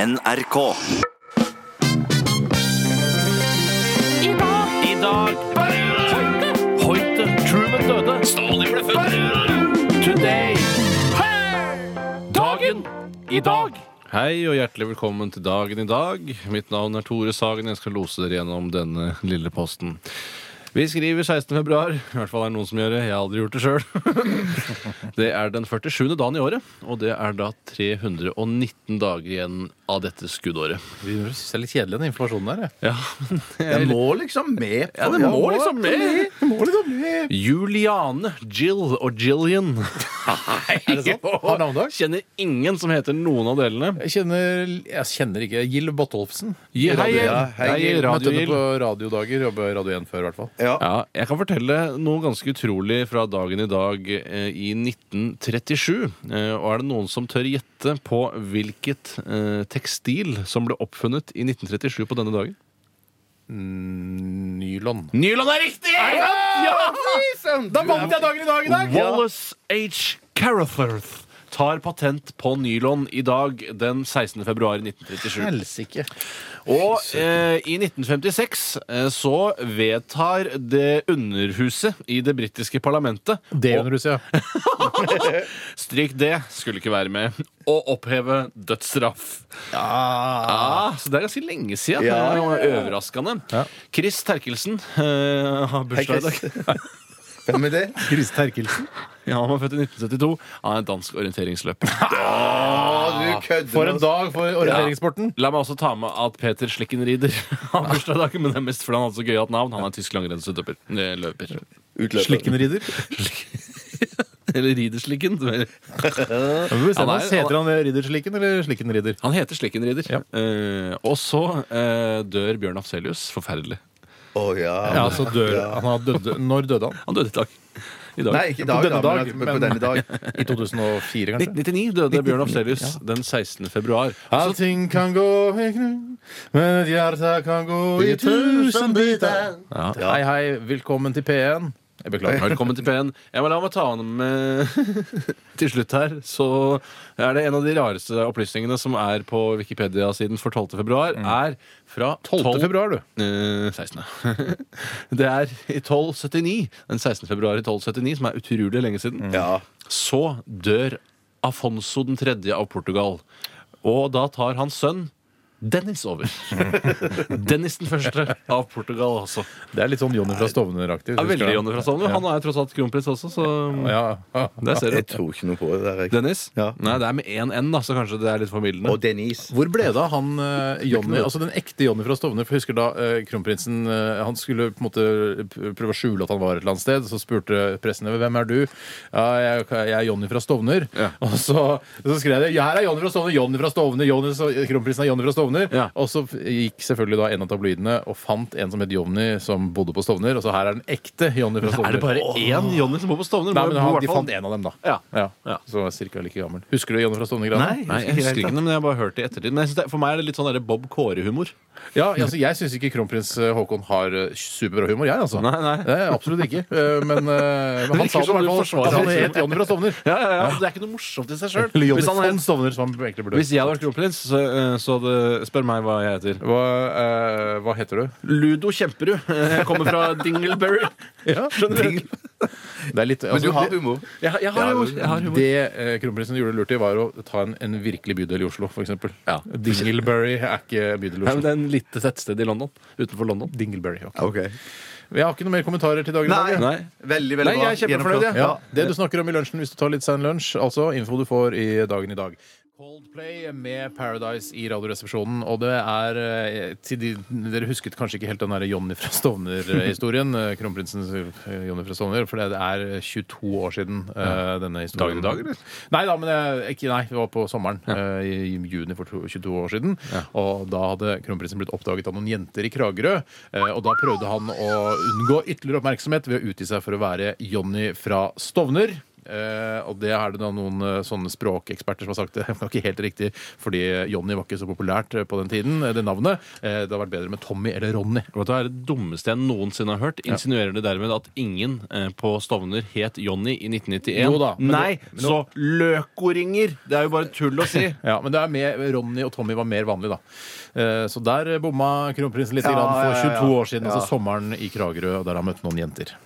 NRK. I dag Hoite Truman døde Stalin ble født Today Dagen I dag Hei og hjertelig velkommen til dagen i dag. Mitt navn er Tore Sagen. Jeg skal lose dere gjennom denne lille posten. Vi skriver 16. februar. I hvert fall er det noen som gjør det. Jeg har aldri gjort det sjøl. Det er den 47. dagen i året, og det er da 319 dager igjen av dette skuddåret. Jeg synes det er litt kjedelig, den informasjonen der. jeg. Ja, men jeg- må liksom med. Ja, det må liksom med. Det må liksom med. Juliane, Jill og Jillian. Er det sant? Har navnedag? Kjenner ingen som heter noen av delene. Jeg kjenner, jeg kjenner ikke Gill Bottolfsen. Gi- hei, Gill. Ja, Hei, Gill. Møtte Radio Gill. henne på radiodager. Jobba i Radio 1 før, i hvert fall. Ja, jeg kan fortelle noe ganske utrolig fra dagen i dag eh, i 1937. Eh, og er det noen som tør gjette på hvilket eh, tekstil som ble oppfunnet i 1937 på denne dagen? Nylon. Nylon er riktig! Da vant jeg dagen i dag i Wallace H. Caratherth tar patent på nylon i dag den 16. februar 1937. Helsike. Og eh, i 1956 eh, så vedtar det underhuset i det britiske parlamentet Det å- under Russia. Stryk det, skulle ikke være med. Og oppheve dødsstraff. Ja, så det er ganske lenge siden. Ja, ja, Det er jo Overraskende. Chris Terkelsen eh, har bursdag i dag. Hvem er det? Chris Terkelsen. Ja, han var født i 1972. Han er en dansk orienteringsløper. Ah, du kødder For en dag for orienteringssporten. La meg også ta med at Peter Slikkenrieder har bursdag i dag. Men det er mest fordi han hadde så gøyalt navn. Han er tysk langrennsløper. eh, løper. Slikkenrider. Eller Riderslikken. som er- Heter Han er- han Ridderslikken eller Slikkenrider? Han heter Slikkenrieder. Ja. Eh, og så eh, dør Bjørn Afselius. Forferdelig. Å ja. Ja, så dør han. har dødd- Når døde han? Han døde i dag. I dag. Nei, ikke i På dag, denne da, men, dag, at- men men- på denne dag. I 2004, kanskje? 1999 døde Bjørn Afselius den 16. februar. Allting kan gå i knu, men et hjerte kan gå i tusen biter. Ja. Hei, hei, velkommen til P1. Jeg beklager. Velkommen til P1. Jeg må la meg ta med til slutt her. Så er det en av de rareste opplysningene som er på Wikipedia-siden for 12. februar, er fra 12. 12. februar, du. Eh, 16. det er i 1279, den 16. februar i 1279, som er utrolig lenge siden, Ja. så dør Afonso 3. av Portugal. Og da tar hans sønn Dennis over. Dennis den første av Portugal, altså. Det er litt sånn Jonny fra Stovner-aktig. Ja, veldig Jonny fra Stovner. Han er tross alt kronprins også, så Ja. ja. der ser Jeg du. tror ikke noe på det der. Jeg. Dennis? Ja. Nei, det er med én N, da, så kanskje det er litt formildende. Og Denise. Hvor ble det av han eh, Johnny, altså den ekte Johnny fra Stovner? For jeg husker da eh, kronprinsen eh, Han skulle på en måte p- prøve å skjule at han var et eller annet sted. Så spurte pressen over hvem er du? Ja, jeg, jeg er Johnny fra Stovner. Ja. Og så, så skrev de ja, her er Johnny fra Stovner, Johnny fra Stovner, Johnny, så, kronprinsen er Johnny fra Stovner. Ja. Og så f- gikk selvfølgelig da en av tabloidene og fant en som het Johnny, som bodde på Stovner. Og så her er den ekte Johnny fra Stovner. Er det bare én Johnny som bor på Stovner? Nei, Må men jo bo han, i hvert De fall- fant en av dem, da. Ja. Ja. Ja. Så var jeg ca. like gammel. Husker du Johnny fra Stovner? Graven? Nei, jeg husker ikke den, men jeg har bare hørt det i ettertid. Men jeg synes det, for meg er det litt sånn der Bob Kåre-humor. Ja, altså Jeg syns ikke kronprins eh, Haakon har eh, superbra humor, jeg, altså. Nei, nei. Det er absolutt ikke. Eh, Men, eh, men han virker sa det i som du hvert fall forsvarer at han det. het Johnny fra Stovner. Ja, ja, ja. Det er ikke noe morsomt i seg sjøl. Eller Johnny Hvis, han von hadde- Stovner, som han egentlig burde hvis jeg hadde vært kronprins, så, eh, så hadde Spør meg hva jeg heter. hva, eh, hva heter du? Ludo Kjemperud. Eh, Jeg kommer fra Dingleberry. Skjønner du? Det er litt, altså, det- humor. Jeg, jeg har humor. Jeg har humor. Det eh, kronprinsen gjorde lurt i, var å ta en, en virkelig bydel i Oslo, f.eks. Ja. Dingleberry er ikke bydel i Nei, men Oslo. det er en lite tettsted i London. Utenfor London. Dingleberry, ok. Ok. Jeg har ikke noe mer kommentarer til dagen i dag. jeg. Nei. Veldig, veldig Nei, bra. jeg er kjempefornøyd, jeg. Ja, det du snakker om i lunsjen hvis du tar litt sein lunsj, altså info du får i dagen i dag. Coldplay med Paradise i Radioresepsjonen. Og det er eh, til de, Dere husket kanskje ikke helt den der Jonny fra Stovner-historien. eh, Kronprinsens eh, Jonny fra Stovner. For det er 22 år siden eh, denne historien. Dagen i dag, eller? Nei da, men eh, ikke, nei, det var på sommeren. eh, I i juni for to- 22 år siden. Og da hadde kronprinsen blitt oppdaget av noen jenter i Kragerø. eh, Og da prøvde han å unngå ytterligere oppmerksomhet ved å utgi seg for å være Jonny fra Stovner. Eh, og det er det da noen eh, sånne språkeksperter som har sagt det var ikke helt riktig, fordi Jonny var ikke så populært eh, på den tiden, eh, det navnet. Eh, det har vært bedre med Tommy eller Ronny. Vet du, Det er det dummeste jeg noensinne har hørt. Insinuerer det dermed at ingen eh, på Stovner het Johnny i 1991? Jo da, men Nei, det- men så løkoringer! Det er jo bare tull å si. Ja, men det er mer, Ronny og Tommy var mer vanlig, da. Eh, så der bomma kronprinsen litt Ja, grann for ja, ja, ja. 22 år siden, Ja. altså sommeren i Kragerø, og der har han møtt noen jenter.